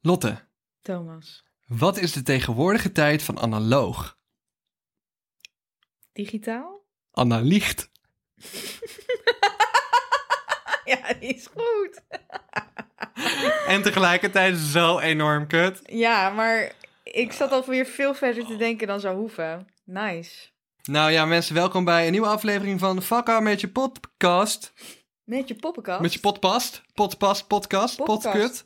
Lotte, Thomas, wat is de tegenwoordige tijd van analoog? digitaal? Anna liegt. ja, die is goed. En tegelijkertijd zo enorm kut. Ja, maar ik zat alweer veel verder te denken dan zou hoeven. Nice. Nou ja, mensen, welkom bij een nieuwe aflevering van Fuck Haar met je podcast. Met je poppenkast? Met je potpast. Potpast, podcast, Podcast. potkut.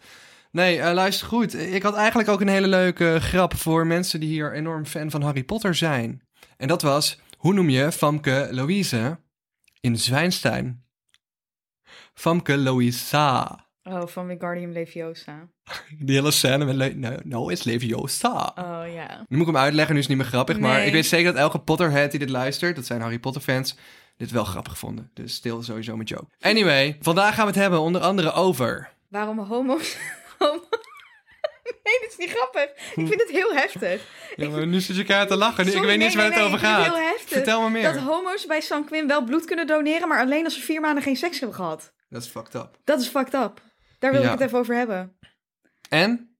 Nee, eh, luister goed. Ik had eigenlijk ook een hele leuke grap voor mensen die hier enorm fan van Harry Potter zijn. En dat was, hoe noem je Famke Louise in Zwijnstein? Famke Louisa. Oh, van Wingardium Leviosa. Die hele scène met... Le- nou, nou is Leviosa. Oh ja. Nu moet ik hem uitleggen, nu is het niet meer grappig. Maar Nee. ik weet zeker dat elke Potterhead die dit luistert, dat zijn Harry Potter fans, dit wel grappig vonden. Dus stil sowieso met joke. Anyway, vandaag gaan we het hebben onder andere over... Waarom homo's... homo- nee, dit is niet grappig. Ik vind het heel heftig. Ja, maar nu zit je elkaar te lachen. Nu- Sorry, ik weet niet nee, eens waar nee, het nee, over gaat. ik vind het heel heftig. Vertel me meer. Dat homo's bij San Quim wel bloed kunnen doneren, maar alleen als ze vier maanden geen seks hebben gehad. Dat is fucked up. Dat is fucked up. Daar wil Ja. ik het even over hebben. En?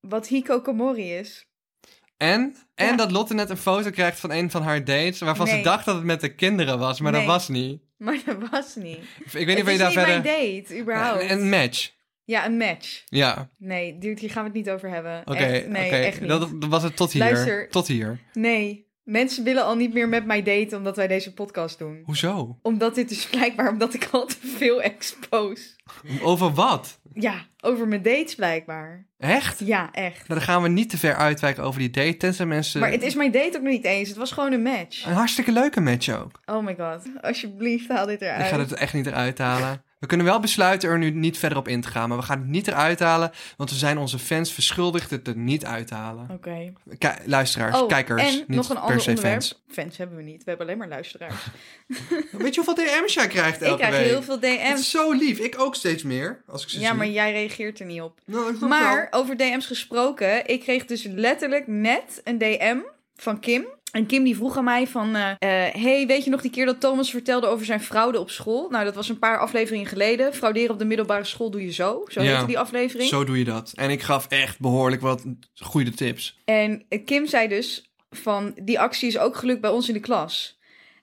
Wat Hikikomori is. En? En Ja. dat Lotte net een foto krijgt van een van haar dates, waarvan ze Nee. dacht dat het met de kinderen was, maar Nee. dat was niet. Maar dat was niet. Ik weet niet het of je is daar niet verder... mijn date, überhaupt. Een- Een match. Ja, een match. Ja, Nee, dude, hier gaan we het niet over hebben. oké. Echt, nee, oké. echt niet. Dat, dat was het tot hier. Luister. Tot hier. Nee, mensen willen al niet meer met mij daten omdat wij deze podcast doen. Hoezo? Omdat dit dus blijkbaar, omdat ik al te veel expose. Over wat? Ja, over mijn dates blijkbaar. Echt? Ja, echt. Nou, dan gaan we niet te ver uitwijken over die date, tenzij mensen... Maar het is mijn date ook nog niet eens. Het was gewoon een match. Een hartstikke leuke match ook. Oh my god. Alsjeblieft, haal dit Ik eruit. ga het echt niet eruit halen. We kunnen wel besluiten er nu niet verder op in te gaan, maar we gaan het niet eruit halen, want we zijn onze fans verschuldigd het er niet uit te halen. Oké. Ki- luisteraars, Oh, kijkers, en niet nog een per ander se onderwerp. fans. Fans hebben we niet. We hebben alleen maar luisteraars. Weet je hoeveel DM's jij krijgt elke ik krijg week? heel veel Dat DM's. is zo lief. Ik ook steeds meer, als ik ze Ja, zie. maar jij reageert er niet op. Nou, ik doe het Maar over DM's gesproken, ik kreeg dus letterlijk net een DM van Kim. En Kim die vroeg aan mij van, eh, eh, hey, weet je nog die keer dat Thomas vertelde over zijn fraude op school? Nou, dat was een paar afleveringen geleden. Frauderen op de middelbare school doe je zo. Zo Ja. heette die wel. aflevering. Zo doe je dat. En ik gaf echt behoorlijk wat goede tips. En eh, Kim zei dus van, die actie is ook gelukt bij ons in de klas.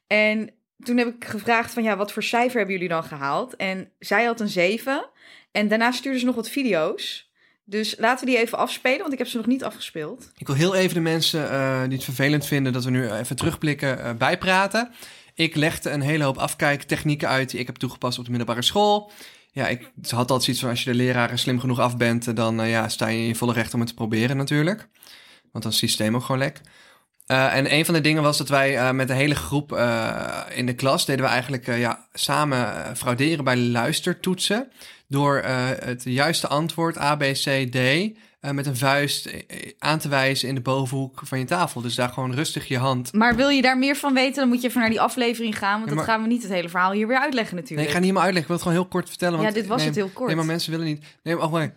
En toen heb ik gevraagd van, ja, wat voor cijfer hebben jullie dan gehaald? En zij had een 7. En daarna stuurde ze nog wat video's. Dus laten we die even afspelen, want ik heb ze nog niet afgespeeld. Ik wil heel even de mensen eh, die het vervelend vinden dat we nu even terugblikken, eh, bijpraten. Ik legde een hele hoop afkijktechnieken uit die ik heb toegepast op de middelbare school. Ja, ik had altijd zoiets van als je de leraren slim genoeg af bent, eh, dan eh, ja, sta je in je volle recht om het te proberen natuurlijk. Want dan is het systeem ook gewoon lek. Eh, en een van de dingen was dat wij eh, met de hele groep eh, in de klas deden we eigenlijk eh, ja, samen eh, frauderen bij luistertoetsen. Door eh, het juiste antwoord A, B, C, D eh, met een vuist eh, eh, aan te wijzen in de bovenhoek van je tafel. Dus daar gewoon rustig je hand. Maar wil je daar meer van weten, dan moet je even naar die aflevering gaan. Want Ja, maar- dan gaan we niet het hele verhaal hier weer uitleggen Nee, ik natuurlijk. ga niet helemaal uitleggen. Ik wil het gewoon heel kort vertellen. Want, ja, dit was nee, het heel kort. Nee, maar mensen willen niet. Nee, maar, oh, nee.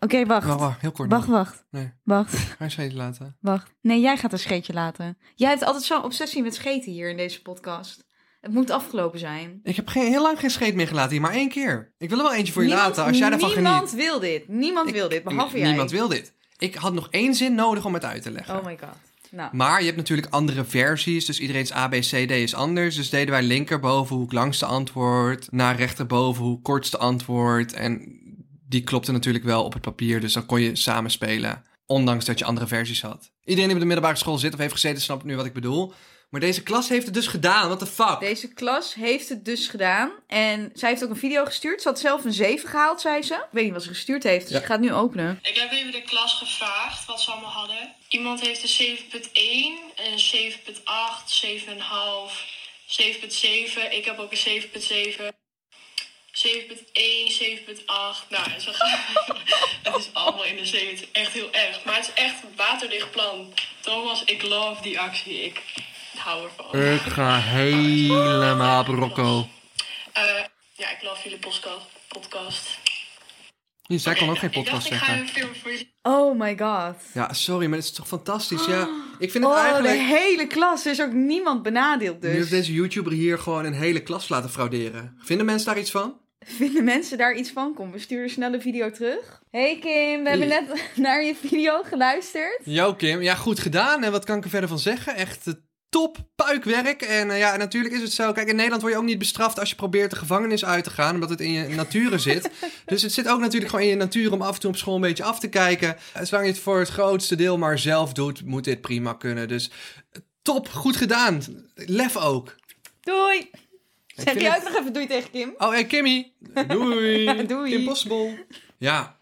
Oké, wacht. Wacht, wacht, heel kort. Wacht, wacht. Nee. Wacht, Ga je scheetje laten. wacht. Nee, jij gaat een scheetje laten. Jij hebt altijd zo'n obsessie met scheten hier in deze podcast. Het moet afgelopen zijn. Ik heb geen, heel lang geen scheet meer gelaten hier, maar één keer. Ik wil er wel eentje voor je Niemand- laten als jij daarvan geniet. Niemand wil dit. Niemand wil dit, behalve jij. Niemand wil dit. Ik had nog één zin nodig om het uit te leggen. Oh my god. Nou, Maar je hebt natuurlijk andere versies, dus iedereen's ABCD is anders. Dus deden wij linkerbovenhoek langste antwoord, naar rechterbovenhoek kortste antwoord. En die klopte natuurlijk wel op het papier, dus dan kon je samen spelen. Ondanks dat je andere versies had. Iedereen die op de middelbare school zit of heeft gezeten, snapt nu wat ik bedoel. Maar deze klas heeft het dus gedaan, what the fuck? deze klas heeft het dus gedaan. En zij heeft ook een video gestuurd. Ze had zelf een 7 gehaald, zei ze. Ik weet niet wat ze gestuurd heeft, dus Ja. ik ga het nu openen. Ik heb even de klas gevraagd wat ze allemaal hadden. Iemand heeft een 7.1, een 7.8, 7.5, 7.7. Ik heb ook een 7.7. 7.1, 7.8. Nou, en zo gaan we. Het is allemaal in de zee. Het is echt heel erg. Maar het is echt een waterdicht plan. Thomas, ik love die actie. Ik hou ervan. Ik ga helemaal brokko. Eh, ja, ik love jullie postka- podcast. Ja, Zij kon ook geen Ik dacht, podcast ik ga zeggen. een film voor jullie Oh my god. Ja, sorry, maar het is toch fantastisch, ja. Ik vind het Oh, eigenlijk... de hele klas. Er is ook niemand benadeeld Nu heeft dus. deze YouTuber hier gewoon een hele klas laten frauderen. Vinden mensen daar iets van? Vinden mensen daar iets van? Kom, we sturen snel een video terug. Hey Kim, we hebben Hey. net naar je video geluisterd. Jo Kim, ja goed gedaan. En wat kan ik er verder van zeggen? Echt eh, top puikwerk. En eh, ja, natuurlijk is het zo. Kijk, in Nederland word je ook niet bestraft als je probeert de gevangenis uit te gaan. Omdat het in je nature zit. Dus het zit ook natuurlijk gewoon in je natuur om af en toe op school een beetje af te kijken. Eh, Zolang je het voor het grootste deel maar zelf doet, moet dit prima kunnen. Dus eh, top, goed gedaan. Lef ook. Doei! Zeg vind jij het- ook nog even doei tegen Kim? Oh, hey Kimmy. Doei. Doei. Impossible. Ja.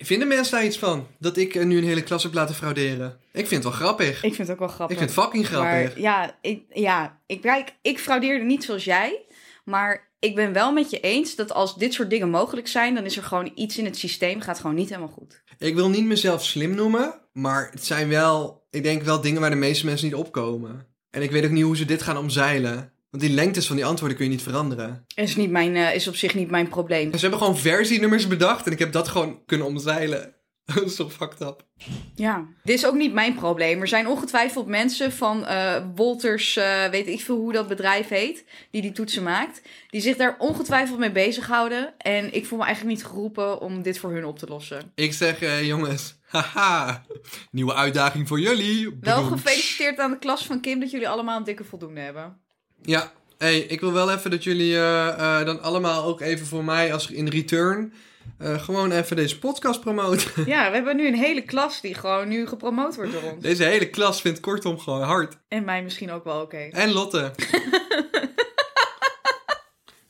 Vinden mensen daar iets van? Dat ik eh, nu een hele klas heb laten frauderen? Ik vind het wel grappig. Ik vind het ook wel grappig. Ik vind het fucking grappig. Maar ja, ik, ja ik, kijk, ik fraudeerde niet zoals jij. Maar ik ben wel met je eens dat als dit soort dingen mogelijk zijn, dan is er gewoon iets in het systeem gaat gewoon niet helemaal goed. Ik wil niet mezelf slim noemen, maar het zijn wel, ik denk wel dingen waar de meeste mensen niet opkomen. En ik weet ook niet hoe ze dit gaan omzeilen. Want die lengtes van die antwoorden kun je niet veranderen. Is, niet mijn, eh, is op zich niet mijn probleem. En ze hebben gewoon versienummers bedacht en ik heb dat gewoon kunnen omzeilen. dat is toch fucked up. Ja. Dit is ook niet mijn probleem. Er zijn ongetwijfeld mensen van eh Wolters, eh, weet ik veel hoe dat bedrijf heet, die die toetsen maakt, die zich daar ongetwijfeld mee bezighouden. En ik voel me eigenlijk niet geroepen om dit voor hun op te lossen. Ik zeg, eh, jongens, haha, nieuwe uitdaging voor jullie. Wel Bedoem. gefeliciteerd aan de klas van Kim dat jullie allemaal een dikke voldoende hebben. Ja, hey, ik wil wel even dat jullie eh, eh, dan allemaal ook even voor mij als in return eh, gewoon even deze podcast promoten. Ja, we hebben nu een hele klas die gewoon nu gepromoot wordt door ons. Deze hele klas vindt kortom gewoon hard. En mij misschien ook wel oké. En Lotte.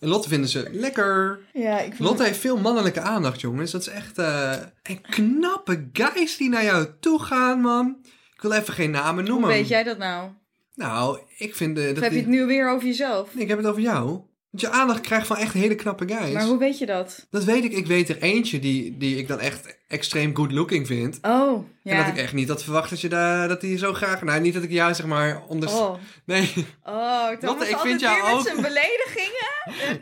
en Lotte vinden ze lekker. Ja, ik Lotte heeft veel mannelijke aandacht, jongens. Dat is echt... eh, en knappe guys die naar jou toe gaan, man. Ik wil even geen namen Hoe noemen. weet jij dat nou? Nou, ik vind... eh, Of dat heb je die- het nu weer over jezelf? Nee, Ik heb het over jou. Dat je aandacht krijgt van echt hele knappe guys. Maar hoe weet je dat? Dat weet ik. Ik weet er eentje die, die ik dan echt extreem good looking vind. Oh, En ja. dat ik echt niet had verwacht dat je daar, dat die zo graag... Nou, niet dat ik jou zeg maar onder... Oh, Nee. oh Lotte, ik vind jou ook... met zijn beledigingen.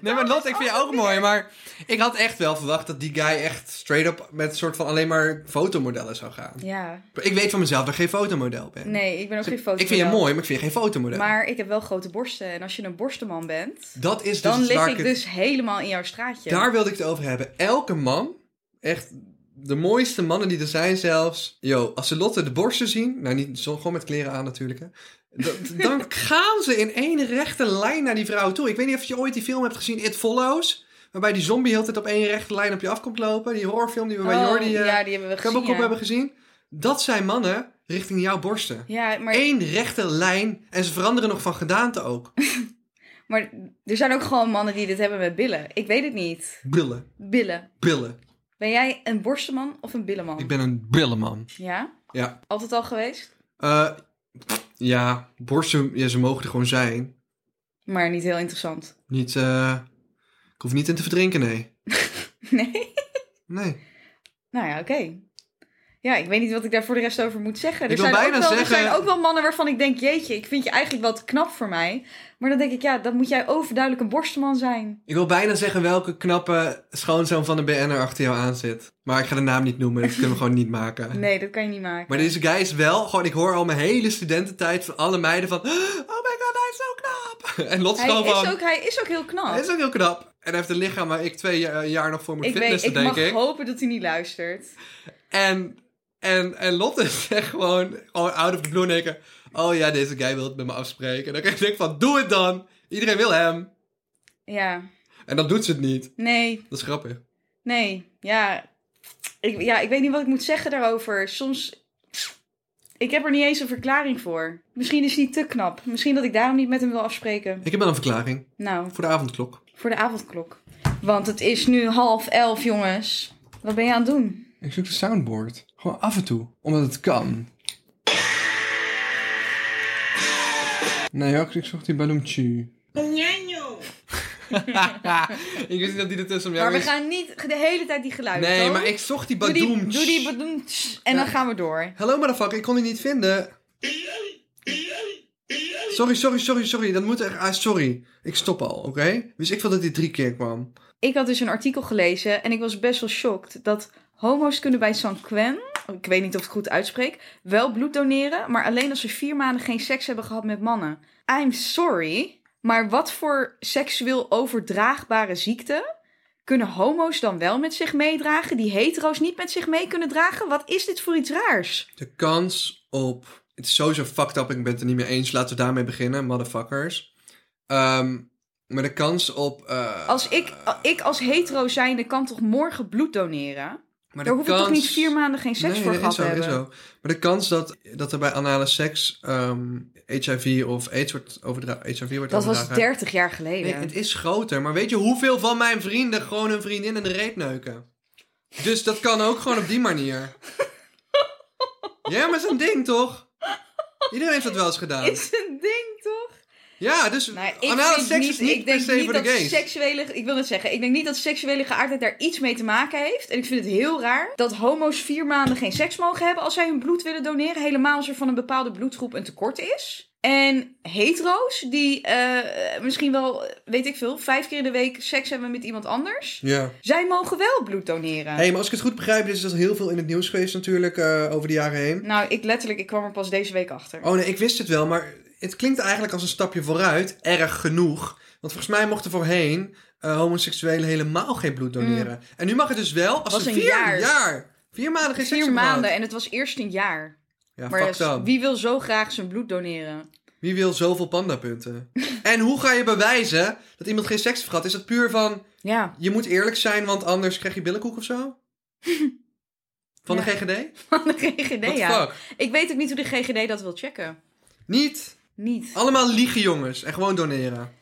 Nee, maar Lot, ik vind Oh, je ook mooi. Maar ik had echt wel verwacht dat die guy echt straight up met een soort van alleen maar fotomodellen zou gaan. Ja, Ik weet van mezelf dat ik geen fotomodel ben. nee, ik ben ook geen foto. ik vind je mooi, maar ik vind je geen fotomodel. Maar ik heb wel grote borsten. En als je een borstenman bent, dat is dus dan lig waar ik het- dus helemaal in jouw straatje. Daar wilde ik het over hebben. Elke man, echt de mooiste mannen die er zijn zelfs. Yo, als ze Lotte de borsten zien, nou niet zo, gewoon met kleren aan natuurlijk hè. Dan, dan gaan ze in één rechte lijn naar die vrouw toe. Ik weet niet of je ooit die film hebt gezien, It Follows. Waarbij die zombie heel de tijd op één rechte lijn op je af komt lopen. Die horrorfilm die we bij Oh, Jordi eh, ja, die hebben we gezien. Kabelkop Ja. hebben gezien. Dat zijn mannen richting jouw borsten. ja, maar Eén rechte lijn en ze veranderen nog van gedaante ook. Maar er zijn ook gewoon mannen die dit hebben met billen. Ik weet het niet. Billen, Billen. billen. Ben jij een borstenman of een billenman? Ik ben een billenman. Ja? Ja. Altijd al geweest? Eh, ja, borsten, ja, ze mogen er gewoon zijn. Maar niet heel interessant. Niet, eh, ik hoef niet in te verdrinken, nee. Nee? Nee. Nou ja, oké. Ja, ik weet niet wat ik daar voor de rest over moet zeggen. Er, Ik wil zijn, bijna ook wel, zeggen- er zijn ook wel mannen waarvan ik denk, jeetje, ik vind je eigenlijk wel te knap voor mij. Maar dan denk ik, ja, dan moet jij overduidelijk een borstenman zijn. Ik wil bijna zeggen welke knappe schoonzoon van de BN'er achter jou aan zit. Maar ik ga de naam niet noemen, dus dat kunnen we gewoon niet maken. Nee, dat kan je niet maken. Maar deze guy is wel, gewoon, ik hoor al mijn hele studententijd van alle meiden van... Oh my god, hij is zo knap! En Lot is hij, gewoon van... is ook, hij is ook heel knap. Hij is ook heel knap. En hij heeft een lichaam waar ik twee eh, jaar nog voor moet ik weet, fitnessen, ik mag denk ik. hopen dat hij niet luistert. En, en, en Lotte zegt gewoon, gewoon out of the blue in één keer, Oh ja, deze guy wil het met me afspreken. En dan denk ik van, doe het dan. Iedereen wil hem. Ja, En dan doet ze het niet. nee, Dat is grappig. Nee, ja. Ik, ja, ik weet niet wat ik moet zeggen daarover. Soms. Ik heb er niet eens een verklaring voor. Misschien is hij te knap. Misschien dat ik daarom niet met hem wil afspreken. Ik heb wel een verklaring Nou, voor de avondklok. voor de avondklok. Want het is nu half elf, jongens. Wat ben je aan het doen? Ik zoek de soundboard. Gewoon af en toe. Omdat het kan. Nee, ook, ik zocht die baloemtje. ik wist niet dat die ertussen maar we is. gaan niet de hele tijd die geluiden. Nee, doen. maar ik zocht die Doe die, badoemtje. doe die badoemtsch en dan Ja. gaan we door. Hallo motherfucker, ik kon die niet vinden. Sorry, sorry, sorry, sorry. Dat moet echt... Ah, sorry. Ik stop al, oké? Dus ik wil dat die drie keer kwam. Ik had dus een artikel gelezen en ik was best wel shocked dat homo's kunnen bij Sanquen, ik weet niet of ik het goed uitspreek, wel bloed doneren, maar alleen als ze vier maanden geen seks hebben gehad met mannen. I'm sorry, maar wat voor seksueel overdraagbare ziekte Kunnen homo's dan wel met zich meedragen die hetero's niet met zich mee kunnen dragen? Wat is dit voor iets raars? De kans op. Het is sowieso fucked up, ik ben het er niet mee eens. Laten we daarmee beginnen, motherfuckers. Ehm, maar de kans op. eh, Als ik, ik als hetero zijnde kan toch morgen bloed doneren? maar Daar de hoef ik toch kans- niet vier maanden geen seks nee, voor nee, gehad is zo, te hebben? Is zo. Maar de kans dat, dat er bij anale seks ehm, HIV of AIDS wordt overdragen. HIV wordt Dat was overdragen. 30 jaar geleden. Nee, het is groter. Maar weet je hoeveel van mijn vrienden gewoon hun vriendin in de reet neuken? Dus dat kan ook gewoon op die manier. Ja, maar zo'n ding toch? Iedereen heeft dat wel eens gedaan. is een ding, toch? Ja, dus Nou, ik anale vind seks niet, is niet ik per denk se niet voor de dat gays. seksuele, ik wil het zeggen, ik denk niet dat seksuele geaardheid daar iets mee te maken heeft. En ik vind het heel raar dat homo's vier maanden geen seks mogen hebben als zij hun bloed willen doneren, helemaal als er van een bepaalde bloedgroep een tekort is. En hetero's die eh, misschien wel, eh, weet ik veel, vijf keer in de week seks hebben met iemand anders, Ja. zij mogen wel bloed doneren. Hé, hey, maar als ik het goed begrijp, is dat heel veel in het nieuws geweest natuurlijk eh, over de jaren heen. Nou, ik letterlijk, ik kwam er pas deze week achter. Oh nee, ik wist het wel, maar het klinkt eigenlijk als een stapje vooruit. Erg genoeg. Want volgens mij mochten voorheen eh, homoseksuelen helemaal geen bloed doneren. En nu mag het dus wel als Mm. Was ze een vier jaar. jaar. vier maanden geen seks Vier hebben gehad. maanden en het was eerst een jaar. Ja, Maar fuck dus dat. Wie... wie wil zo graag zijn bloed doneren? wil zoveel pandapunten? en hoe ga je bewijzen dat iemand geen seks heeft gehad? Is dat puur van, Ja. je moet eerlijk zijn, want anders krijg je billenkoek of zo? Van de Ja. GGD? Van de GGD, What the ja. fuck? Ik weet ook niet hoe de GGD dat wil checken. Niet. Niet. Allemaal liegen, jongens. En gewoon doneren.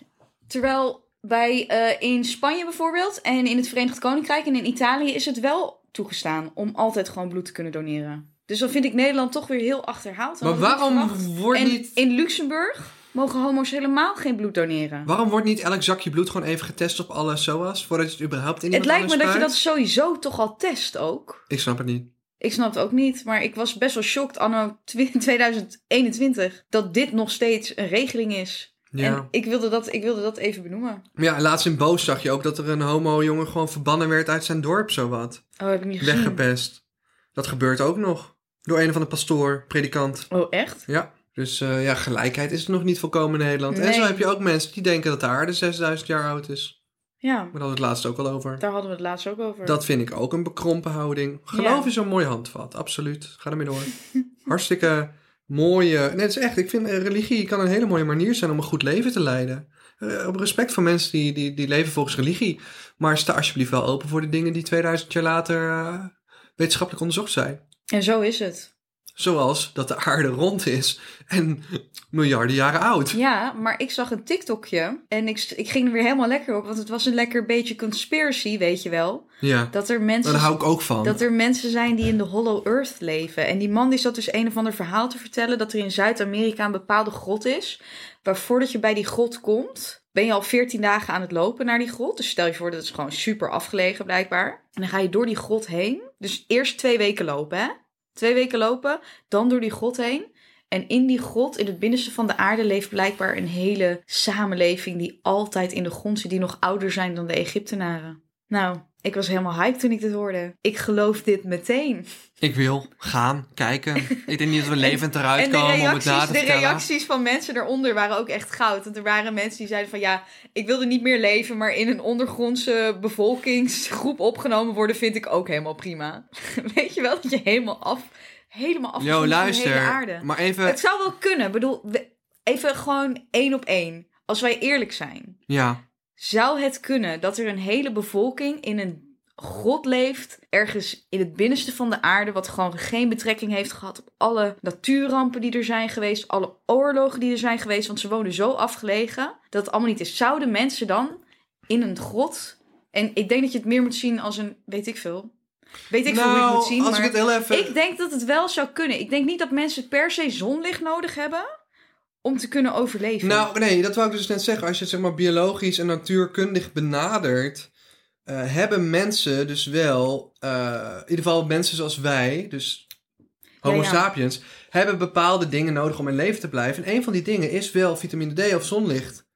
Terwijl bij, eh, in Spanje bijvoorbeeld en in het Verenigd Koninkrijk en in Italië is het wel toegestaan om altijd gewoon bloed te kunnen doneren. Dus dan vind ik Nederland toch weer heel achterhaald. Dan Maar had ik niet waarom verwacht. wordt, En niet, in Luxemburg mogen homo's helemaal geen bloed doneren. waarom wordt niet elk zakje bloed gewoon even getest op alle SOA's? Voordat je het überhaupt in Het iemand lijkt me anders dat je dat spuit? sowieso toch al test ook. Ik snap het niet. Ik snap het ook niet, maar ik was best wel shocked anno 2021 dat dit nog steeds een regeling is. Ja. En ik wilde, dat, ik wilde dat even benoemen. Maar ja, laatst in Boos zag je ook dat er een homo-jongen gewoon verbannen werd uit zijn dorp, zowat. Oh, heb ik niet gezien. weggepest. Dat gebeurt ook nog. Door een of andere pastoor, predikant. Oh, echt? Ja. Dus eh, ja, gelijkheid is nog niet volkomen in Nederland. En Nee. zo heb je ook mensen die denken dat de aarde 6000 jaar oud is. Ja, Maar daar hadden we het laatst ook al over. daar hadden we het laatst ook over. Dat vind ik ook een bekrompen houding. Geloof Ja. is een mooi handvat, absoluut. Ga ermee door. Hartstikke mooie... Nee, het is echt, ik vind eh, religie kan een hele mooie manier zijn om een goed leven te leiden. Eh, Op respect voor mensen die, die, die leven volgens religie. Maar sta alsjeblieft wel open voor de dingen die 2000 jaar later eh, wetenschappelijk onderzocht zijn. En zo is het. Zoals dat de aarde rond is en miljarden jaren oud. Ja, maar ik zag een TikTokje en ik, ik ging er weer helemaal lekker op, want het was een lekker beetje conspiracy, weet je wel. Ja, Dat er Oh, daar mensen, hou ik ook van. dat er mensen zijn die in de Hollow Earth leven. En die man die zat dus een of ander verhaal te vertellen dat er in Zuid-Amerika een bepaalde grot is, waar voordat je bij die grot komt, ben je al 14 dagen aan het lopen naar die grot. Dus stel je voor dat het is gewoon super afgelegen blijkbaar. En dan ga je door die grot heen. Dus eerst twee weken lopen, hè? Twee weken lopen, dan door die grot heen. En in die grot, in het binnenste van de aarde, leeft blijkbaar een hele samenleving die altijd in de grond zit, die nog ouder zijn dan de Egyptenaren. Nou, ik was helemaal hyped toen ik dit hoorde. Ik geloof dit meteen. Ik wil gaan kijken. ik denk niet dat we levend eruit En de komen om het na reacties, te de vertellen. reacties van mensen daaronder waren ook echt goud. Want er waren mensen die zeiden van ja, ik wilde niet meer leven, maar in een ondergrondse bevolkingsgroep opgenomen worden vind ik ook helemaal prima. Weet je wel dat je helemaal af, helemaal af Yo, van de hele aarde. luister. Maar even, Het zou wel kunnen. Ik bedoel, we- even gewoon één op één. Als wij eerlijk zijn. ja. Zou het kunnen dat er een hele bevolking in een grot leeft, ergens in het binnenste van de aarde, wat gewoon geen betrekking heeft gehad op alle natuurrampen die er zijn geweest, alle oorlogen die er zijn geweest, want ze wonen zo afgelegen dat het allemaal niet is. Zouden mensen dan in een grot, en ik denk dat je het meer moet zien als een, weet ik veel, weet ik veel hoe je het nou, moet zien, als maar... ik het heel even... Ik denk dat het wel zou kunnen. Ik denk niet dat mensen per se zonlicht nodig hebben om te kunnen overleven. Nou, nee, dat wou ik dus net zeggen. Als je het zeg maar biologisch en natuurkundig benadert, eh, hebben mensen dus wel, eh, in ieder geval mensen zoals wij, dus Homo Ja, ja. sapiens, hebben bepaalde dingen nodig om in leven te blijven. En een van die dingen is wel vitamine D of zonlicht.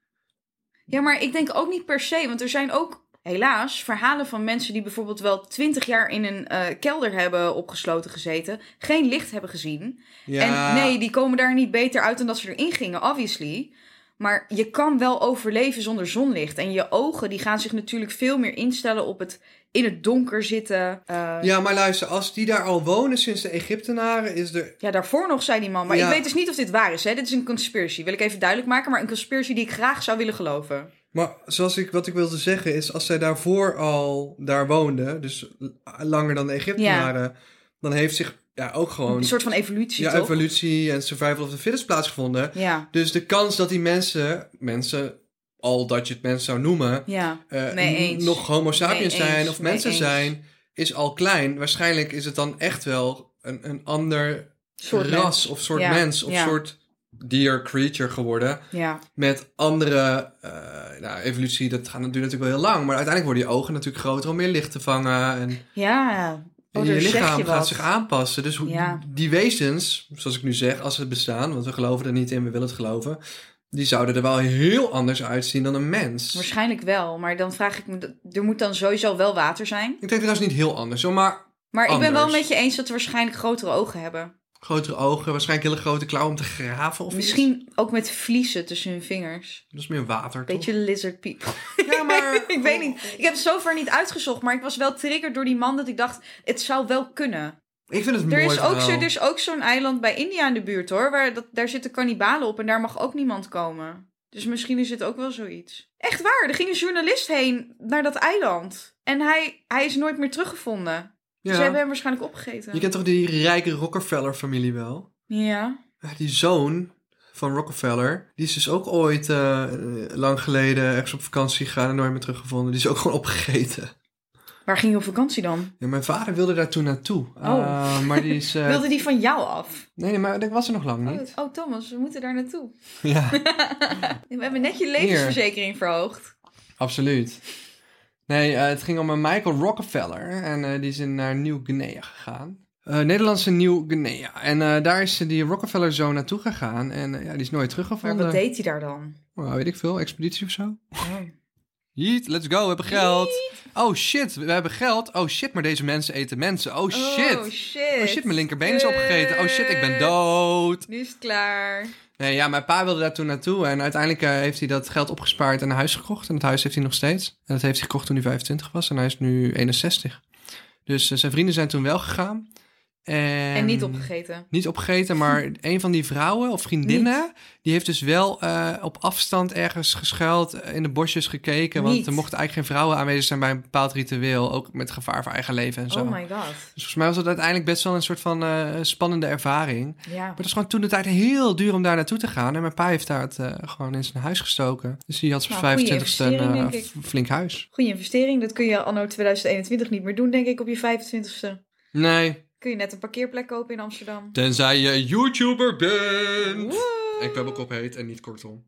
Ja, maar ik denk ook niet per se, want er zijn ook helaas verhalen van mensen die bijvoorbeeld wel twintig jaar in een eh, kelder hebben opgesloten gezeten, geen licht hebben gezien. Ja, En nee, die komen daar niet beter uit dan dat ze erin gingen, obviously. Maar je kan wel overleven zonder zonlicht. En je ogen die gaan zich natuurlijk veel meer instellen op het in het donker zitten. Eh, ja. Ja, maar luister, als die daar al wonen sinds de Egyptenaren, is er daarvoor nog zei die man. Maar Ja. ik weet dus niet of dit waar is. Hè? Dit is een conspiracy, wil ik even duidelijk maken. Maar een conspiracy die ik graag zou willen geloven. Maar zoals ik, wat ik wilde zeggen is, als zij daarvoor al daar woonden, dus l- langer dan de Egyptenaren, dan heeft zich ja, ook gewoon Een soort van evolutie, ja, toch? evolutie en survival of the fittest plaatsgevonden. ja, Dus de kans dat die mensen, mensen, al dat je het mensen zou noemen, ja. eh, Mee n- eens. nog homo sapiens Mee zijn eens, of mee mensen eens. zijn, is al klein. Waarschijnlijk is het dan echt wel een, een ander Soort ras mens. of soort Ja, mens of ja. soort dier, creature geworden Ja, met andere eh, nou, evolutie, dat gaat, duurt natuurlijk wel heel lang. Maar uiteindelijk worden je ogen natuurlijk groter om meer licht te vangen. En, ja. en Oh, je daar zeg lichaam je gaat wat. zich aanpassen. Dus hoe, Ja. die wezens, zoals ik nu zeg, als ze bestaan, want we geloven er niet in, we willen het geloven. Die zouden er wel heel anders uitzien dan een mens. Waarschijnlijk wel, maar dan vraag ik me, er moet dan sowieso wel water zijn. Ik denk trouwens niet heel anders, hoor, maar Maar ik ben wel Anders. met je eens dat we waarschijnlijk grotere ogen hebben. grotere ogen, waarschijnlijk hele grote klauwen om te graven. Of iets. Misschien ook met vliezen tussen hun vingers. Dat is meer water, toch? Beetje lizard people. Ja, maar... ik weet niet, ik heb het zover niet uitgezocht, maar ik was wel triggerd door die man dat ik dacht, het zou wel kunnen. Ik vind het een Er mooi is, ook zo, verhaal. er is ook zo'n eiland bij India in de buurt hoor, waar dat, daar zitten kannibalen op en daar mag ook niemand komen. Dus misschien is het ook wel zoiets. Echt waar, er ging een journalist heen naar dat eiland. En hij, hij is nooit meer teruggevonden. Dus Ja. Ze hebben hem waarschijnlijk opgegeten. Je kent toch die rijke Rockefeller-familie wel? Ja. Ja, Die zoon van Rockefeller, die is dus ook ooit eh, eh, lang geleden ergens op vakantie gegaan en nooit meer teruggevonden. Die is ook gewoon opgegeten. Waar ging je op vakantie dan? Ja, mijn vader wilde daar toen naartoe. Eh, maar die is. eh, Oh. Wilde die van jou af? Nee, nee, maar dat was er nog lang Oh, niet. oh, Thomas, we moeten daar naartoe. Ja, We hebben net je levensverzekering verhoogd. absoluut. Nee, eh, het ging om een Michael Rockefeller en eh, die is in- naar Nieuw-Guinea gegaan. Eh, Nederlandse Nieuw-Guinea. En eh, daar is eh, die Rockefeller zoon naartoe gegaan en eh, ja, die is nooit Maar teruggevonden. wat deed hij daar dan? Nou, weet ik veel, expeditie of zo. Jeet, let's go, we hebben geld. Oh shit, we hebben geld. Oh shit, maar deze mensen eten mensen. Oh shit. Oh shit. Eh, Oh shit, mijn linkerbeen is opgegeten. Oh shit, ik ben dood. Nu is het klaar. Nee, ja, mijn pa wilde daar toen naartoe. En uiteindelijk eh, heeft hij dat geld opgespaard en een huis gekocht. En dat huis heeft hij nog steeds. En dat heeft hij gekocht toen hij 25 was. En hij is nu 61. Dus eh, zijn vrienden zijn toen wel gegaan. En, En niet opgegeten. Niet opgegeten, maar een van die vrouwen of vriendinnen... die heeft dus wel eh, op afstand ergens geschuild, eh, in de bosjes gekeken... want Niet. er mochten eigenlijk geen vrouwen aanwezig zijn bij een bepaald ritueel... ook met gevaar voor eigen leven en zo. Oh my god. Dus volgens mij was dat uiteindelijk best wel een soort van eh, spannende ervaring. Maar Ja. het is gewoon toen de tijd heel duur om daar naartoe te gaan... en mijn pa heeft daar het eh, gewoon in zijn huis gestoken. Dus die had zijn Nou, 25ste goeie een investering, eh, denk f- flink huis. Goede investering. Dat kun je anno 2021 niet meer doen, denk ik, op je 25ste. Nee, Kun je net een parkeerplek kopen in Amsterdam. tenzij je YouTuber bent... Woe. En kwebbelkop heet en niet kortom.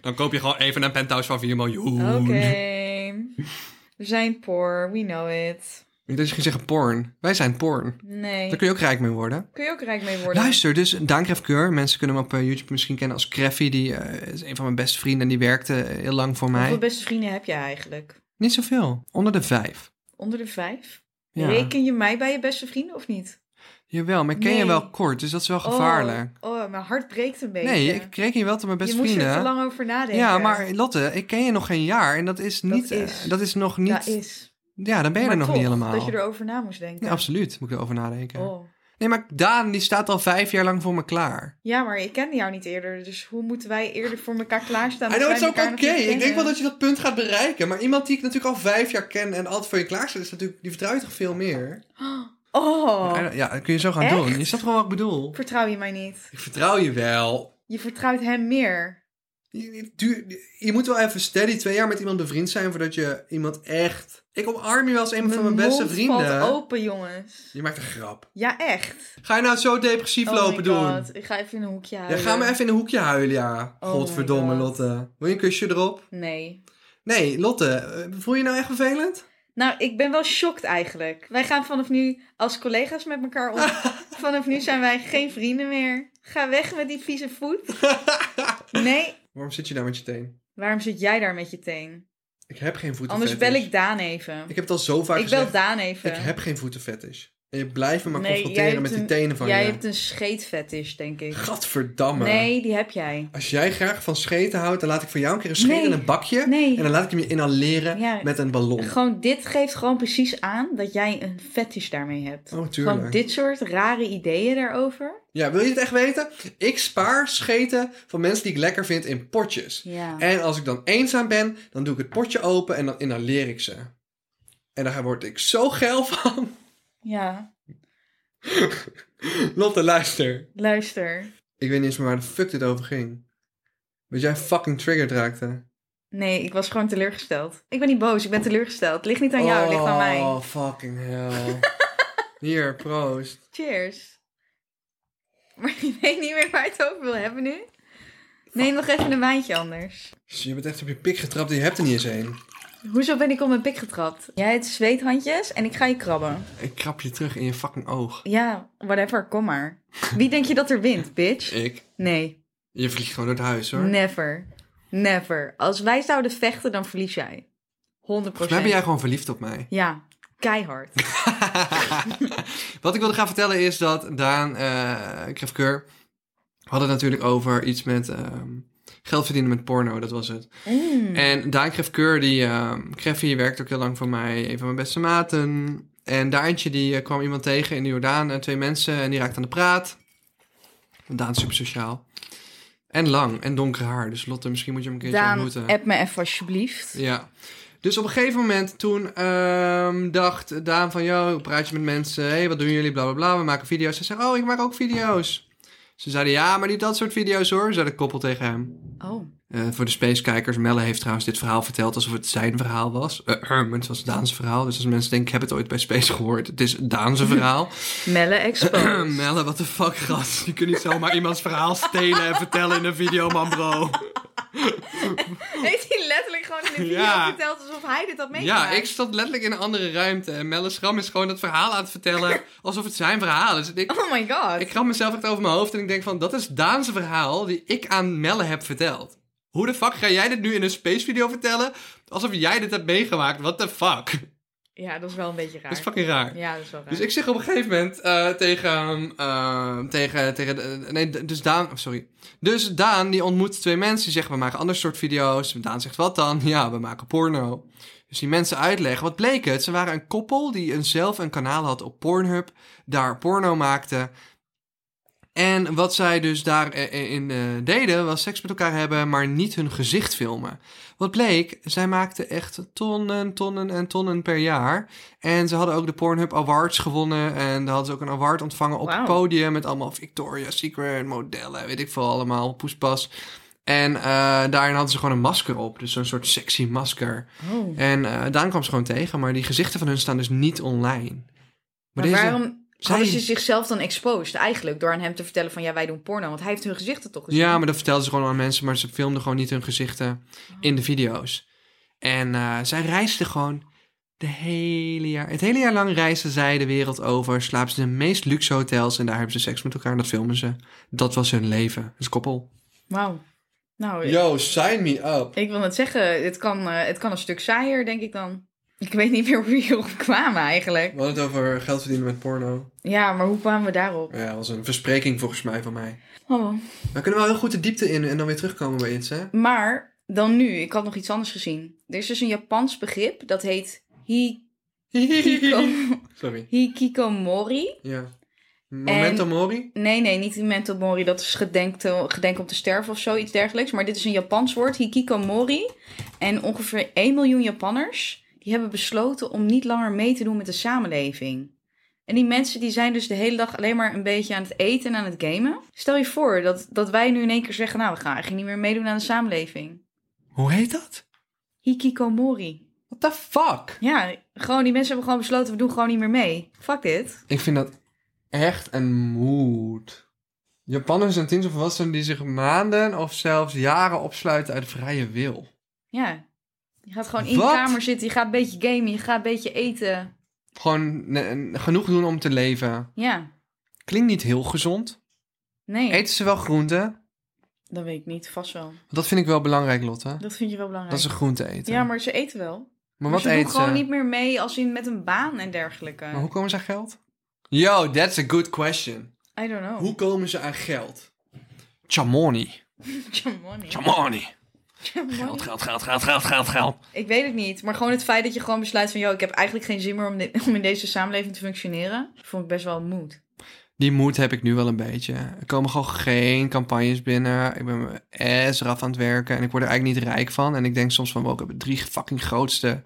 Dan koop je gewoon even een penthouse van 4 miljoen. Oké. We zijn poor. We know it. Ik dacht dat je ging zeggen porn. Wij zijn porn. Nee. Daar kun je ook rijk mee worden. Kun je ook rijk mee worden. Luister, dus Daan Keur. Mensen kunnen hem op eh, YouTube misschien kennen als Creffy. Die eh, is een van mijn beste vrienden en die werkte eh, heel lang voor mij. Hoeveel beste vrienden heb je eigenlijk? Niet zoveel. Onder de vijf. Onder de vijf? Ja. Reken je mij bij je beste vrienden of niet? Jawel, maar ik ken je Nee. wel kort, dus dat is wel gevaarlijk. Oh, oh, mijn hart breekt een beetje. nee, ik reken je wel tot mijn beste je moest vrienden. er te lang over nadenken. ja, maar Lotte, ik ken je nog geen jaar en dat is niet. eh, Dat is, is- nog niet. Dat is. Ja, dan ben je maar er nog toch, niet helemaal. dat je erover na moest denken. Nee, absoluut. Moet ik erover nadenken. Oh. Nee, maar Daan die staat al vijf jaar lang voor me klaar. Ja, maar ik kende jou niet eerder. Dus hoe moeten wij eerder voor elkaar klaarstaan? I als know, wij it's ook elkaar oké. nog niet Ik denk kennen? wel dat je dat punt gaat bereiken. Maar iemand die ik natuurlijk al vijf jaar ken en altijd voor je klaar staat, is natuurlijk, die vertrouwt toch veel meer? Oh, Ja, dat kun je zo gaan Echt? doen. Je snapt gewoon wat ik bedoel. vertrouw je mij niet? Ik vertrouw je wel. Je vertrouwt hem meer. Je, je- duur- je moet wel even steady twee jaar met iemand bevriend zijn voordat je iemand echt... Ik omarm je wel als een van mijn beste mond vrienden. valt open, jongens. Je maakt een grap. Ja, echt. Ga je nou zo depressief Oh lopen my doen? God. Ik ga even in een hoekje Ja, houden. ga maar even in een hoekje huilen, ja. Oh my Godverdomme, God. Lotte. Wil je een kusje erop? Nee. Nee, Lotte, eh, voel je nou echt vervelend? Nou, ik ben wel shocked eigenlijk. Wij gaan vanaf nu als collega's met elkaar om. vanaf nu zijn wij geen vrienden meer. Ga weg met die vieze voet. Nee, Waarom zit je daar met je teen? waarom zit jij daar met je teen? Ik heb geen voeten. Anders bel ik Daan even. Ik heb het al zo vaak Ik gezegd. bel Daan even. Ik heb geen voetenfetish. En je blijft me maar confronteren met die een- tenen van jij je. hebt een scheetfetish, denk ik. Gadverdamme. Nee, die heb jij. Als jij graag van scheten houdt, dan laat ik voor jou een keer een scheet Nee. in een bakje. Nee. En dan laat ik hem je inhaleren Ja. met een ballon. Gewoon, dit geeft gewoon precies aan dat jij een fetish daarmee hebt. Oh, tuurlijk. Gewoon dit soort rare ideeën daarover. Ja, wil je het echt weten? Ik spaar scheten van mensen die ik lekker vind in potjes. Ja. En als ik dan eenzaam ben, dan doe ik het potje open en dan inhaleer ik ze. En daar word ik zo geil van. Ja, Lotte, luister. luister. Ik weet niet eens meer waar de fuck dit over ging. Dat jij fucking triggered raakte. Nee, ik was gewoon teleurgesteld. Ik ben niet boos, ik ben teleurgesteld. Het ligt niet aan jou, het ligt aan mij. Oh, fucking hell. Hier, proost. Cheers. Maar ik weet niet meer waar je het over wil hebben nu. Neem nog even een wijntje anders. Je bent echt op je pik getrapt en je hebt er niet eens een. Hoezo ben ik op mijn pik getrapt? Jij hebt zweethandjes en ik ga je krabben. Ik krap je terug in je fucking oog. Ja, whatever, kom maar. Wie denk je dat er wint, bitch? Ik? Nee, Je vliegt gewoon uit huis hoor. never. Never. Als wij zouden vechten, dan verlies jij. 100%. Volgens mij ben jij gewoon verliefd op mij. Ja, keihard. Wat ik wilde gaan vertellen is dat Daan, eh Krefkeur, hadden het natuurlijk over iets met ehm, geld verdienen met porno, dat was het. Mm. En Daan Krefkeur, die ehm Kreffie werkt ook heel lang voor mij, een van mijn beste maten. En Daantje, die eh, kwam iemand tegen in de Jordaan, en twee mensen, en die raakte aan de praat. Daan is super sociaal. En lang, en donker haar, dus Lotte, misschien moet je hem een keertje Daan, ontmoeten. app me even alsjeblieft. Ja. Dus op een gegeven moment toen ehm, dacht Daan van... Yo, praat je met mensen? hey, wat doen jullie? Bla, bla, bla. We maken video's. Ze zei, oh, ik maak ook video's. Ze zeiden, ja, maar niet dat soort video's hoor. Zei de koppel tegen hem. Oh, Eh, voor de spacekijkers, Melle heeft trouwens dit verhaal verteld alsof het zijn verhaal was. Eh, het was Daans verhaal. Dus als mensen denken, ik heb het ooit bij Space gehoord. Het is Daanse verhaal. Melle Expo. Melle, wat de fuck, gast. Je kunt niet zomaar iemands verhaal stelen en vertellen in een video, man, bro. Heeft hij letterlijk gewoon in de video Ja. verteld alsof hij dit had Ja, meegemaakt? ik stond letterlijk in een andere ruimte. En Melle Schram is gewoon dat verhaal aan het vertellen. alsof het zijn verhaal is. En ik, Oh my god. ik kram mezelf echt over mijn hoofd. En ik denk van, dat is Daanse verhaal die ik aan Melle heb verteld. Hoe de fuck ga jij dit nu in een space video vertellen? Alsof jij dit hebt meegemaakt. What the fuck? Ja, dat is wel een beetje raar. Dat is fucking raar. Ja, dat is wel raar. Dus ik zeg op een gegeven moment eh, tegen, eh, tegen, tegen, eh, nee, d- dus Daan, oh, sorry. Dus Daan, die ontmoet twee mensen, die zeggen, we maken ander soort video's. Daan zegt, wat dan? Ja, we maken porno. Dus die mensen uitleggen, wat bleek het? Ze waren een koppel die een, zelf een kanaal had op Pornhub, daar porno maakte. En wat zij dus daarin eh deden, was seks met elkaar hebben, maar niet hun gezicht filmen. Wat bleek, zij maakten echt tonnen, tonnen en tonnen per jaar. En ze hadden ook de Pornhub Awards gewonnen. En daar hadden ze ook een award ontvangen op het Wauw. podium. Met allemaal Victoria's Secret modellen, weet ik veel allemaal, poespas. En eh, daarin hadden ze gewoon een masker op. Dus zo'n soort sexy masker. Oh. En eh, Daan kwam ze gewoon tegen. Maar die gezichten van hun staan dus niet online. Maar, Maar deze- waarom zij- hadden ze zichzelf dan exposed eigenlijk? Door aan hem te vertellen van ja, wij doen porno. Want hij heeft hun gezichten toch gezien? Ja, maar dat vertelden ze gewoon aan mensen, maar ze filmden gewoon niet hun gezichten in de video's. En eh, zij reisden gewoon de hele jaar. Het hele jaar lang reisden zij de wereld over, slapen ze in de meest luxe hotels en daar hebben ze seks met elkaar en dat filmen ze. Dat was hun leven. Dus koppel. Wauw. Nou, Yo, sign me up. ik wil net zeggen, het kan, eh, het kan een stuk saaier, denk ik dan. Ik weet niet meer hoe we hierop kwamen eigenlijk. We hadden het over geld verdienen met porno. Ja, maar hoe kwamen we daarop? Ja, dat was een verspreking volgens mij van mij. Oh. We kunnen wel heel goed de diepte in en dan weer terugkomen bij iets, hè? Maar dan nu, ik had nog iets anders gezien. Er is dus een Japans begrip, dat heet hi- hikiko- Sorry. hikikomori. Ja. Momento mori? Nee, nee, niet memento mori. Dat is gedenk, te- gedenk om te sterven of zoiets dergelijks. Maar dit is een Japans woord, hikikomori. En ongeveer 1 miljoen Japanners... die hebben besloten om niet langer mee te doen met de samenleving. En die mensen die zijn dus de hele dag alleen maar een beetje aan het eten en aan het gamen. Stel je voor dat, dat wij nu in één keer zeggen... nou, we gaan eigenlijk niet meer meedoen aan de samenleving. Hoe heet dat? Hikikomori. What the fuck? Ja, gewoon die mensen hebben gewoon besloten... we doen gewoon niet meer mee. Fuck dit. Ik vind dat echt een moed. Japanners en tieners of volwassenen die zich maanden of zelfs jaren opsluiten uit vrije wil. Ja. Je gaat gewoon in je Wat? kamer zitten, je gaat een beetje gamen, je gaat een beetje eten. Gewoon ne- genoeg doen om te leven. Ja. Klinkt niet heel gezond. Nee, Eten ze wel groenten? dat weet ik niet. Vast wel. Dat vind ik wel belangrijk, Lotte. Dat vind je wel belangrijk. Dat ze groenten eten. Ja, maar ze eten wel. Maar Maar wat ze doen eten ze? gewoon niet meer mee als in met een baan en dergelijke. Maar hoe komen ze aan geld? Yo, that's a good question. I don't know. Hoe komen ze aan geld? Chamoni. Jamoni. Chamoni. Jamoni. Geld, geld, geld, geld, geld, geld, geld. Ik weet het niet. Maar gewoon het feit dat je gewoon besluit van... ...joh, ik heb eigenlijk geen zin meer om, dit- om in deze samenleving te functioneren... ...vond ik best wel moed. Die moed heb ik nu wel een beetje. Er komen gewoon geen campagnes binnen. Ik ben mijn ass eraf aan het werken. En ik word er eigenlijk niet rijk van. En ik denk soms van, wow, ik heb drie fucking grootste...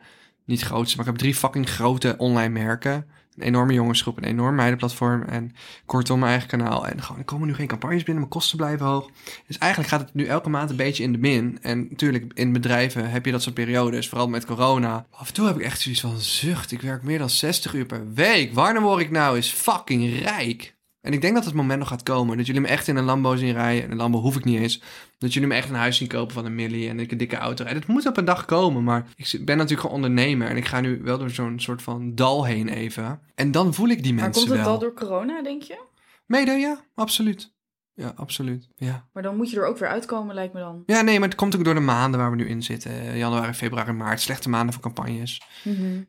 Niet grootste, maar ik heb drie fucking grote online merken. Een enorme jongensgroep, een enorm meidenplatform. En kortom, mijn eigen kanaal. En gewoon, er komen nu geen campagnes binnen. Mijn kosten blijven hoog. Dus eigenlijk gaat het nu elke maand een beetje in de min. En natuurlijk, in bedrijven heb je dat soort periodes. Vooral met corona. Af en toe heb ik echt zoiets van, zucht, ik werk meer dan 60 uur per week. Wanneer word ik nou eens fucking rijk? En ik denk dat het moment nog gaat komen. Dat jullie me echt in een Lambo zien rijden. En een Lambo hoef ik niet eens. Dat jullie me echt een huis zien kopen van een millie. En dat ik een dikke auto rijd. Het moet op een dag komen. Maar ik zit- ben natuurlijk gewoon ondernemer. En ik ga nu wel door zo'n soort van dal heen even. En dan voel ik die maar mensen komt het wel. al door corona, denk je? Mede, ja. Absoluut. Ja, absoluut. Ja. Maar dan moet je er ook weer uitkomen, lijkt me dan. Ja, nee, maar het komt ook door de maanden waar we nu in zitten. Eh, Januari, februari, maart. Slechte maanden voor campagnes.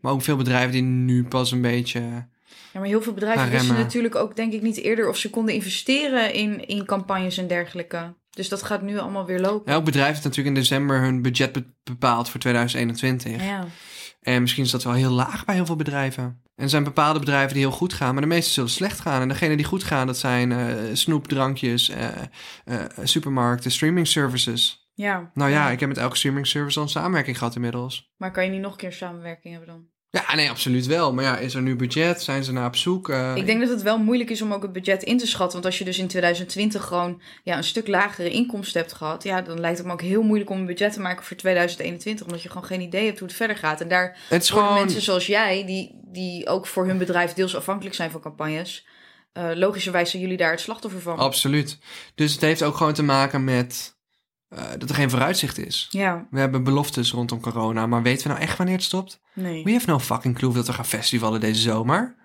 Maar ook veel bedrijven die nu pas een beetje... Ja, maar heel veel bedrijven Gaan wisten remmen. natuurlijk ook denk ik niet eerder... ...of ze konden investeren in, in campagnes en dergelijke. Dus dat gaat nu allemaal weer lopen. Elk bedrijf heeft natuurlijk in december hun budget be- bepaald voor 2021. Ja. En misschien is dat wel heel laag bij heel veel bedrijven. En er zijn bepaalde bedrijven die heel goed gaan, maar de meeste zullen slecht gaan. En degene die goed gaan, dat zijn eh snoepdrankjes, eh, eh, supermarkten, streaming services. ja. Nou ja, ik heb met elke streaming service al een samenwerking gehad inmiddels. Maar kan je niet nog een keer samenwerking hebben dan? Ja, nee, absoluut wel. Maar ja, is er nu budget? Zijn ze naar op zoek? Eh, Ik denk dat het wel moeilijk is om ook het budget in te schatten. Want als je dus in 2020 gewoon ja, een stuk lagere inkomsten hebt gehad. Ja, dan lijkt het me ook heel moeilijk om een budget te maken voor 2021. Omdat je gewoon geen idee hebt hoe het verder gaat. En daar het is worden gewoon... mensen zoals jij, die, die ook voor hun bedrijf deels afhankelijk zijn van campagnes. eh, logischerwijs zijn jullie daar het slachtoffer van. Absoluut. Dus het heeft ook gewoon te maken met eh, dat er geen vooruitzicht is. ja, We hebben beloftes rondom corona, maar weten we nou echt wanneer het stopt? nee. We have no fucking clue of dat we gaan festivalen deze zomer.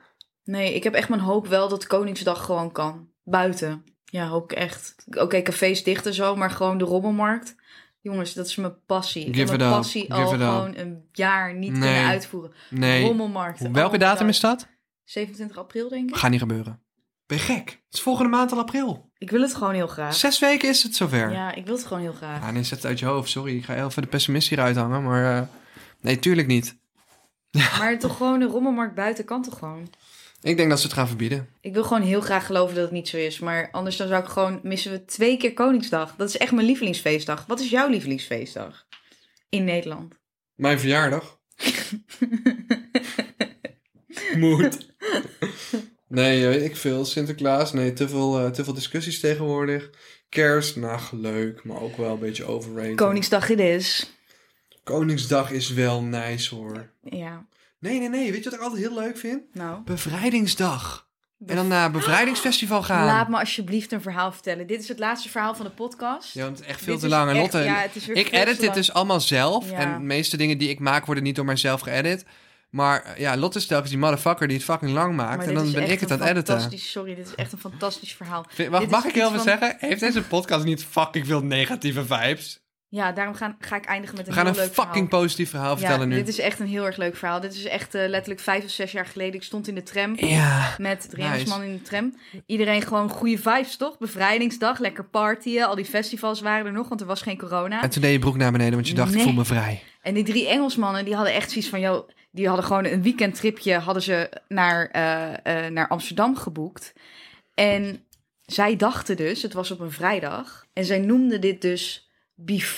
Nee, ik heb echt mijn hoop wel dat Koningsdag gewoon kan. Buiten. Ja, hoop ik echt. Oké, cafés dicht en zo, maar gewoon de rommelmarkt. Jongens, dat is mijn passie. Ik Give heb it mijn up. passie Give al it up. gewoon een jaar niet Nee. kunnen uitvoeren. Nee. Rommelmarkten. Welke datum is dat? 27 april, denk ik. Gaat niet gebeuren. Ben je gek? Het is volgende maand al april. Ik wil het gewoon heel graag. Zes weken is het zover. Ja, Ja, ik wil het gewoon heel graag. nee, zet het uit je hoofd. Sorry, ik ga heel even de pessimist hieruit hangen, maar... eh, nee, tuurlijk niet. Maar toch gewoon een rommelmarkt buiten kan toch gewoon? Ik denk dat ze het gaan verbieden. Ik wil gewoon heel graag geloven dat het niet zo is. Maar anders dan zou ik gewoon... Missen we twee keer Koningsdag. Dat is echt mijn lievelingsfeestdag. Wat is jouw lievelingsfeestdag? In Nederland. Mijn verjaardag. Moed. Nee, eh, weet ik veel. Sinterklaas, nee, te veel, eh, te veel discussies tegenwoordig. Kerst, nou leuk, maar ook wel een beetje overrated. Koningsdag it is. Koningsdag is wel nice hoor. Ja, Nee, nee, nee, weet je wat ik altijd heel leuk vind? nou. Bevrijdingsdag. En dan naar bevrijdingsfestival gaan. Laat me alsjeblieft een verhaal vertellen. Dit is het laatste verhaal van de podcast. Ja, want het is echt veel Dit te is lang. En echt- Lotte, ja, het is weer ik veel edit te dit lang. dus allemaal zelf. Ja. En de meeste dingen die ik maak worden niet door mijzelf geëdit. Maar eh, ja, Lotte is telkens die motherfucker die het fucking lang maakt. Maar en dit dan is ben echt ik het een aan het editen. fantastisch- Sorry, dit is echt een fantastisch verhaal. Vind- Mag, dit mag is ik heel iets veel van- zeggen? Heeft deze podcast niet fucking veel negatieve vibes? Ja, daarom gaan, ga ik eindigen met We een gaan heel een leuk fucking verhaal. positief verhaal vertellen ja, nu. dit is echt een heel erg leuk verhaal. Dit is echt eh, letterlijk vijf of zes jaar geleden. Ik stond in de tram Ja. met Nice. 300 man in de tram. Iedereen gewoon goede vibes, toch? Bevrijdingsdag, lekker partyen. Al die festivals waren er nog, want er was geen corona. En toen deed je broek naar beneden, want je dacht, ik Nee. voel me vrij. En die drie Engelsmannen, die hadden echt zoiets van... Joh, die hadden gewoon een weekendtripje hadden ze naar, eh, eh, naar Amsterdam geboekt. En zij dachten dus, het was op een vrijdag... en zij noemden dit dus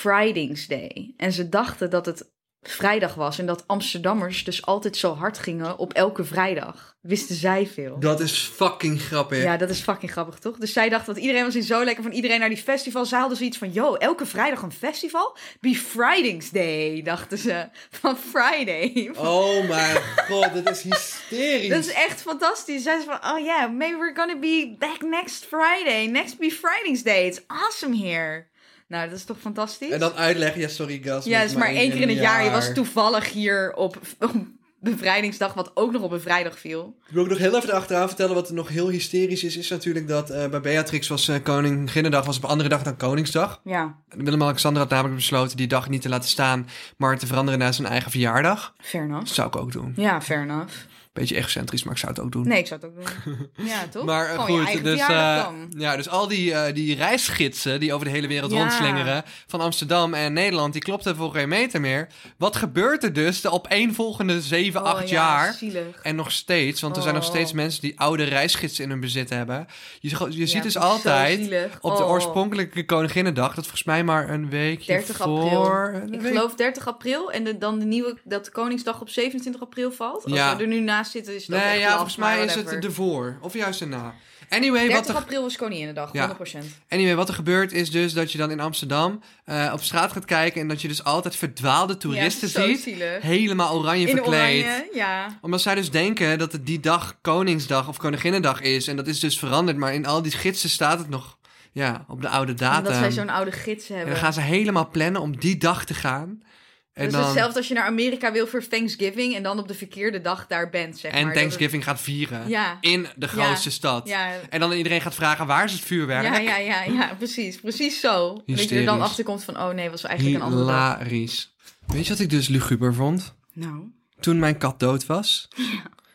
Befridingsday. En ze dachten dat het vrijdag was... en dat Amsterdammers dus altijd zo hard gingen op elke vrijdag. Wisten zij veel. Dat is fucking grappig. Ja, dat is fucking grappig, toch? Dus zij dacht, want iedereen was in zo lekker van iedereen naar die festival. Zij hadden zoiets van, yo, elke vrijdag een festival? Befridingsday, dachten ze. Van Friday. Oh my god, dat is hysterisch. Dat is echt fantastisch. Zij zei van, oh yeah, maybe we're gonna be back next Friday. Next Befridingsday. It's awesome here. Nou, dat is toch fantastisch? uitleggen, ja sorry gas. ja, het is maar één keer in het jaar. Je was toevallig hier op, op bevrijdingsdag, wat ook nog op een vrijdag viel. Ik wil ook nog heel even erachteraan vertellen wat er nog heel hysterisch is. Is natuurlijk dat eh, bij Beatrix was eh Koninginnedag was op een andere dag dan Koningsdag. Ja, Willem-Alexander had namelijk besloten die dag niet te laten staan, maar te veranderen naar zijn eigen verjaardag. fair enough. Dat zou ik ook doen. Ja, fair enough. Beetje egocentrisch, maar ik zou het ook doen. Nee, ik zou het ook doen. Ja, toch? Maar eh, Gewoon je goed, eigen dus, verjaardag eh, dan. ja, dus al die, eh, die reisgidsen die over de hele wereld Ja. rondslingeren... van Amsterdam en Nederland, die klopten voor geen meter meer. Wat gebeurt er dus de opeenvolgende 7, Oh, 8 ja, jaar... Zielig. En nog steeds, want er zijn nog Oh. steeds mensen die oude reisgidsen in hun bezit hebben. Je, je ziet dus zo altijd zielig. op de Oh. oorspronkelijke Koninginnedag, dat is volgens mij maar een weekje 30 april. voor... een Ik week- geloof 30 april en de- dan de nieuwe, dat de Koningsdag op 27 april valt. Als Ja. we er nu naast zitten is dat Nee, echt ja, laf, volgens maar mij is het whatever. ervoor. Of juist erna. Anyway, wat 30 er, april is Koninginnedag, Ja. 100%. anyway, wat er gebeurt is dus dat je dan in Amsterdam eh, op straat gaat kijken... en dat je dus altijd verdwaalde toeristen ja, zo ziet. zielig. Helemaal oranje In verkleed. oranje, ja. Omdat zij dus denken dat het die dag Koningsdag of Koninginnedag is. En dat is dus veranderd. Maar in al die gidsen staat het nog ja, op de oude datum. Omdat zij zo'n oude gids en hebben. dan gaan ze helemaal plannen om die dag te gaan. En, dus dan, hetzelfde als je naar Amerika wil voor Thanksgiving en dan op de verkeerde dag daar bent, zeg en maar. Dat het- Thanksgiving gaat vieren. Ja. In de grootste stad. Ja, En dan iedereen gaat vragen waar is het vuurwerk? ja, ja, ja, ja, precies. Precies zo. Dat je er dan Hysterisch. achter komt van, oh nee, was eigenlijk een andere dag. Hilarisch. Weet je wat ik dus luguber vond? Nou. Toen mijn kat dood was.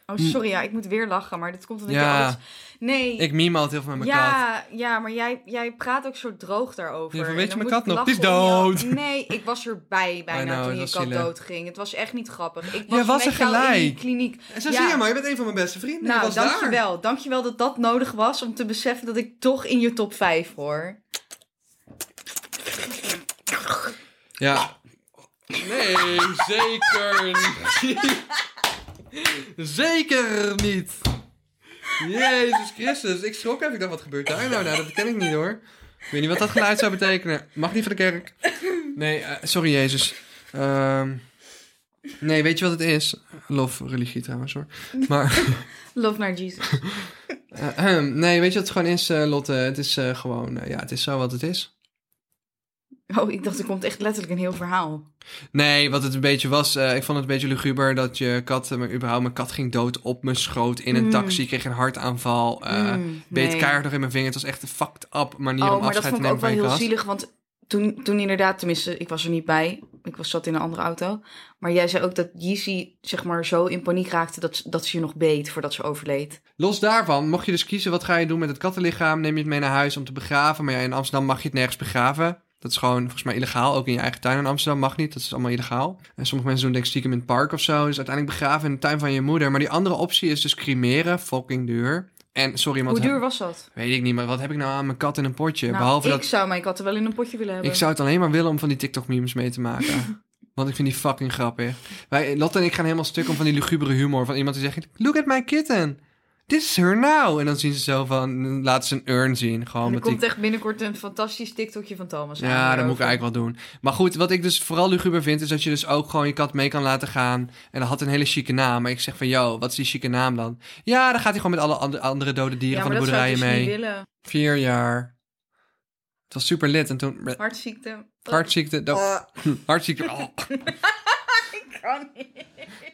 Oh, sorry, ja, ik moet weer lachen, maar dit komt omdat Hm. Ja. je alles... Nee. Ik meme altijd heel veel met mijn kat. ja, ja, maar jij, jij praat ook zo droog daarover. Ja, van, En weet dan je, mijn moet kat ik nog? Die is lachen om dood. jou. Nee, ik was erbij bijna I know, toen je het was kat zielig. doodging. Het was echt niet grappig. Ik Ja, was, was met er jou in die gelijk. kliniek. En zo Ja. zie je maar, je bent een van mijn beste vrienden. Ik Nou, was dankjewel. Dankjewel dat dat nodig was om te beseffen dat ik toch in je top 5 hoor. daar. Ja. Nee, zeker niet. zeker niet. Jezus Christus, ik schrok even. Ik dacht, wat gebeurt daar nou? Nou, dat ken ik niet hoor. Ik weet niet wat dat geluid zou betekenen. Mag niet van de kerk. Nee, eh, sorry Jezus. Ehm, nee, weet je wat het is? Lof religie trouwens hoor. Maar... Love naar Jesus. Eh, ehm, nee, weet je wat het gewoon is, eh, Lotte? Het is eh, gewoon, eh, ja, het is zo wat het is. Oh, ik dacht er komt echt letterlijk een heel verhaal. Nee, wat het een beetje was, eh, ik vond het een beetje luguber dat je kat, eh, maar überhaupt mijn kat ging dood op mijn schoot in een Mm. taxi, kreeg een hartaanval, eh Mm, beet nee. keihard nog in mijn vinger. Het was echt een fucked up manier Oh, om maar afscheid dat te vond ik nemen ook van wel je heel kat. zielig, want toen, toen inderdaad, tenminste, ik was er niet bij. Ik was, zat in een andere auto. Maar jij zei ook dat Yeezy, zeg maar, zo in paniek raakte dat, ze- dat ze je nog beet voordat ze overleed. Los daarvan, mocht je dus kiezen, wat ga je doen met het kattenlichaam? Neem je het mee naar huis om te begraven? Maar ja, in Amsterdam mag je het nergens begraven. Dat is gewoon volgens mij illegaal. Ook in je eigen tuin in Amsterdam mag niet. Dat is allemaal illegaal. En sommige mensen doen denk ik stiekem in het park of zo. Dus uiteindelijk begraven in de tuin van je moeder. Maar die andere optie is dus cremeren. Fucking duur. En sorry, want Hoe duur was dat? weet ik niet. Maar wat heb ik nou aan mijn kat in een potje? Nou, Behalve ik dat zou mijn katten wel in een potje willen hebben. ik zou het alleen maar willen om van die TikTok-memes mee te maken. Want ik vind die fucking grappig. Wij, Lotte en ik gaan helemaal stuk om van die lugubere humor. Van iemand die zegt, look at my kitten. This is her now. En dan zien ze zo van, laten ze een urn zien. Gewoon En er met die... komt echt binnenkort een fantastisch TikTokje van Thomas aan Ja, dat moet ik hierover. eigenlijk wel doen. Maar goed, wat ik dus vooral luguber vind... is dat je dus ook gewoon je kat mee kan laten gaan. En dat had een hele chique naam. Maar ik zeg van, yo, wat is die chique naam dan? Ja, dan gaat hij gewoon met alle and- andere dode dieren Ja, van maar de dat zou ik boerderijen mee. dus niet willen. Vier jaar. Het was super lit. En toen... Hartziekte. Hartziekte... Hartziekte... Oh. Ik kan niet.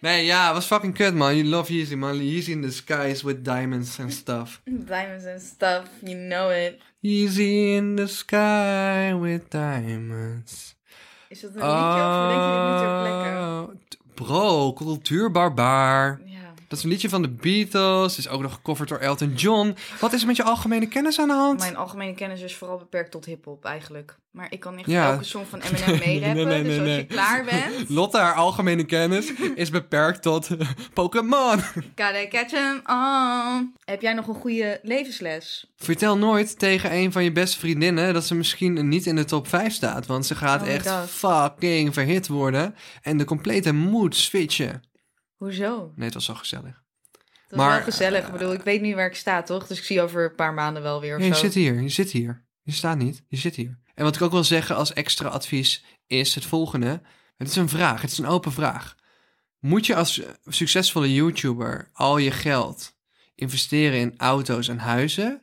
Nee, ja, het was fucking kut, man. You love Yeezy, man. Yeezy in the skies with diamonds and stuff. Diamonds and stuff, you know it. Yeezy in the sky with diamonds. Is dat een liedje of denk je dit niet ter plekke? Oh, t- Bro, cultuurbarbaar. Ja. Dat is een liedje van de Beatles. Is ook nog gecoverd door Elton John. Wat is er met je algemene kennis aan de hand? Mijn algemene kennis is vooral beperkt tot hip-hop eigenlijk. Maar ik kan echt Ja. elke song van Eminem Nee, meerappen. nee, nee, dus als nee. je klaar bent, Lotte, haar algemene kennis is beperkt tot Pokémon. gotta catch 'em all. Heb jij nog een goede levensles? Vertel nooit tegen een van je beste vriendinnen dat ze misschien niet in de top 5 staat. Want ze gaat Oh my echt God. fucking verhit worden. En de complete mood switchen. Hoezo? Nee, het was zo gezellig. Dat Maar, is wel gezellig. ik bedoel, ik weet nu waar ik sta, toch? Dus ik zie over een paar maanden wel weer of Nee, je zo. zit hier, je zit hier. Je staat niet, je zit hier. En wat ik ook wil zeggen als extra advies is het volgende. Het is een vraag, het is een open vraag. Moet je als eh, succesvolle YouTuber al je geld investeren in auto's en huizen?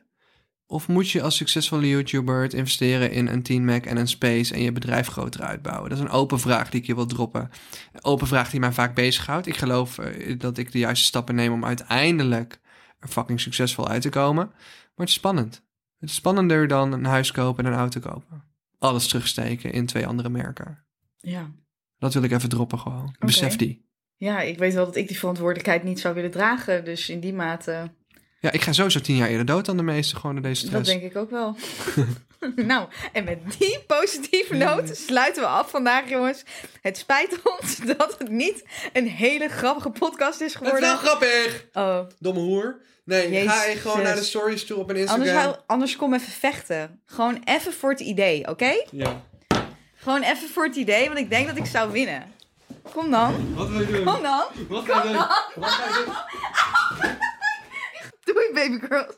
Of moet je als succesvolle YouTuber het investeren in een Team Mac en een Space en je bedrijf groter uitbouwen? Dat is een open vraag die ik je wil droppen. Een open vraag die mij vaak bezighoudt. Ik geloof eh, dat ik de juiste stappen neem om uiteindelijk er fucking succesvol uit te komen. Maar het is spannend. Het is spannender dan een huis kopen en een auto kopen. Alles terugsteken in twee andere merken. Ja. Dat wil ik even droppen gewoon. Besef die. Ja, ik weet wel dat ik die verantwoordelijkheid niet zou willen dragen. Dus in die mate, Ja, ik ga sowieso tien jaar eerder dood dan de meesten gewoon door deze Dus dat stress. denk ik ook wel. nou, en met die positieve Hmm. noot sluiten we af vandaag, jongens. Het spijt ons dat het niet een hele grappige podcast is Het is wel geworden. grappig! Oh, Domme hoer. Nee, Jezus. ga ik gewoon naar de stories toe op mijn Instagram. anders, hou- anders kom even vechten. Gewoon even voor het idee, oké? Ja. Gewoon even voor het idee, want ik denk dat ik zou winnen. Kom dan, Wat wil je doen? kom dan. Wat ga je doen? Wat ga je doen? Doei, baby girls.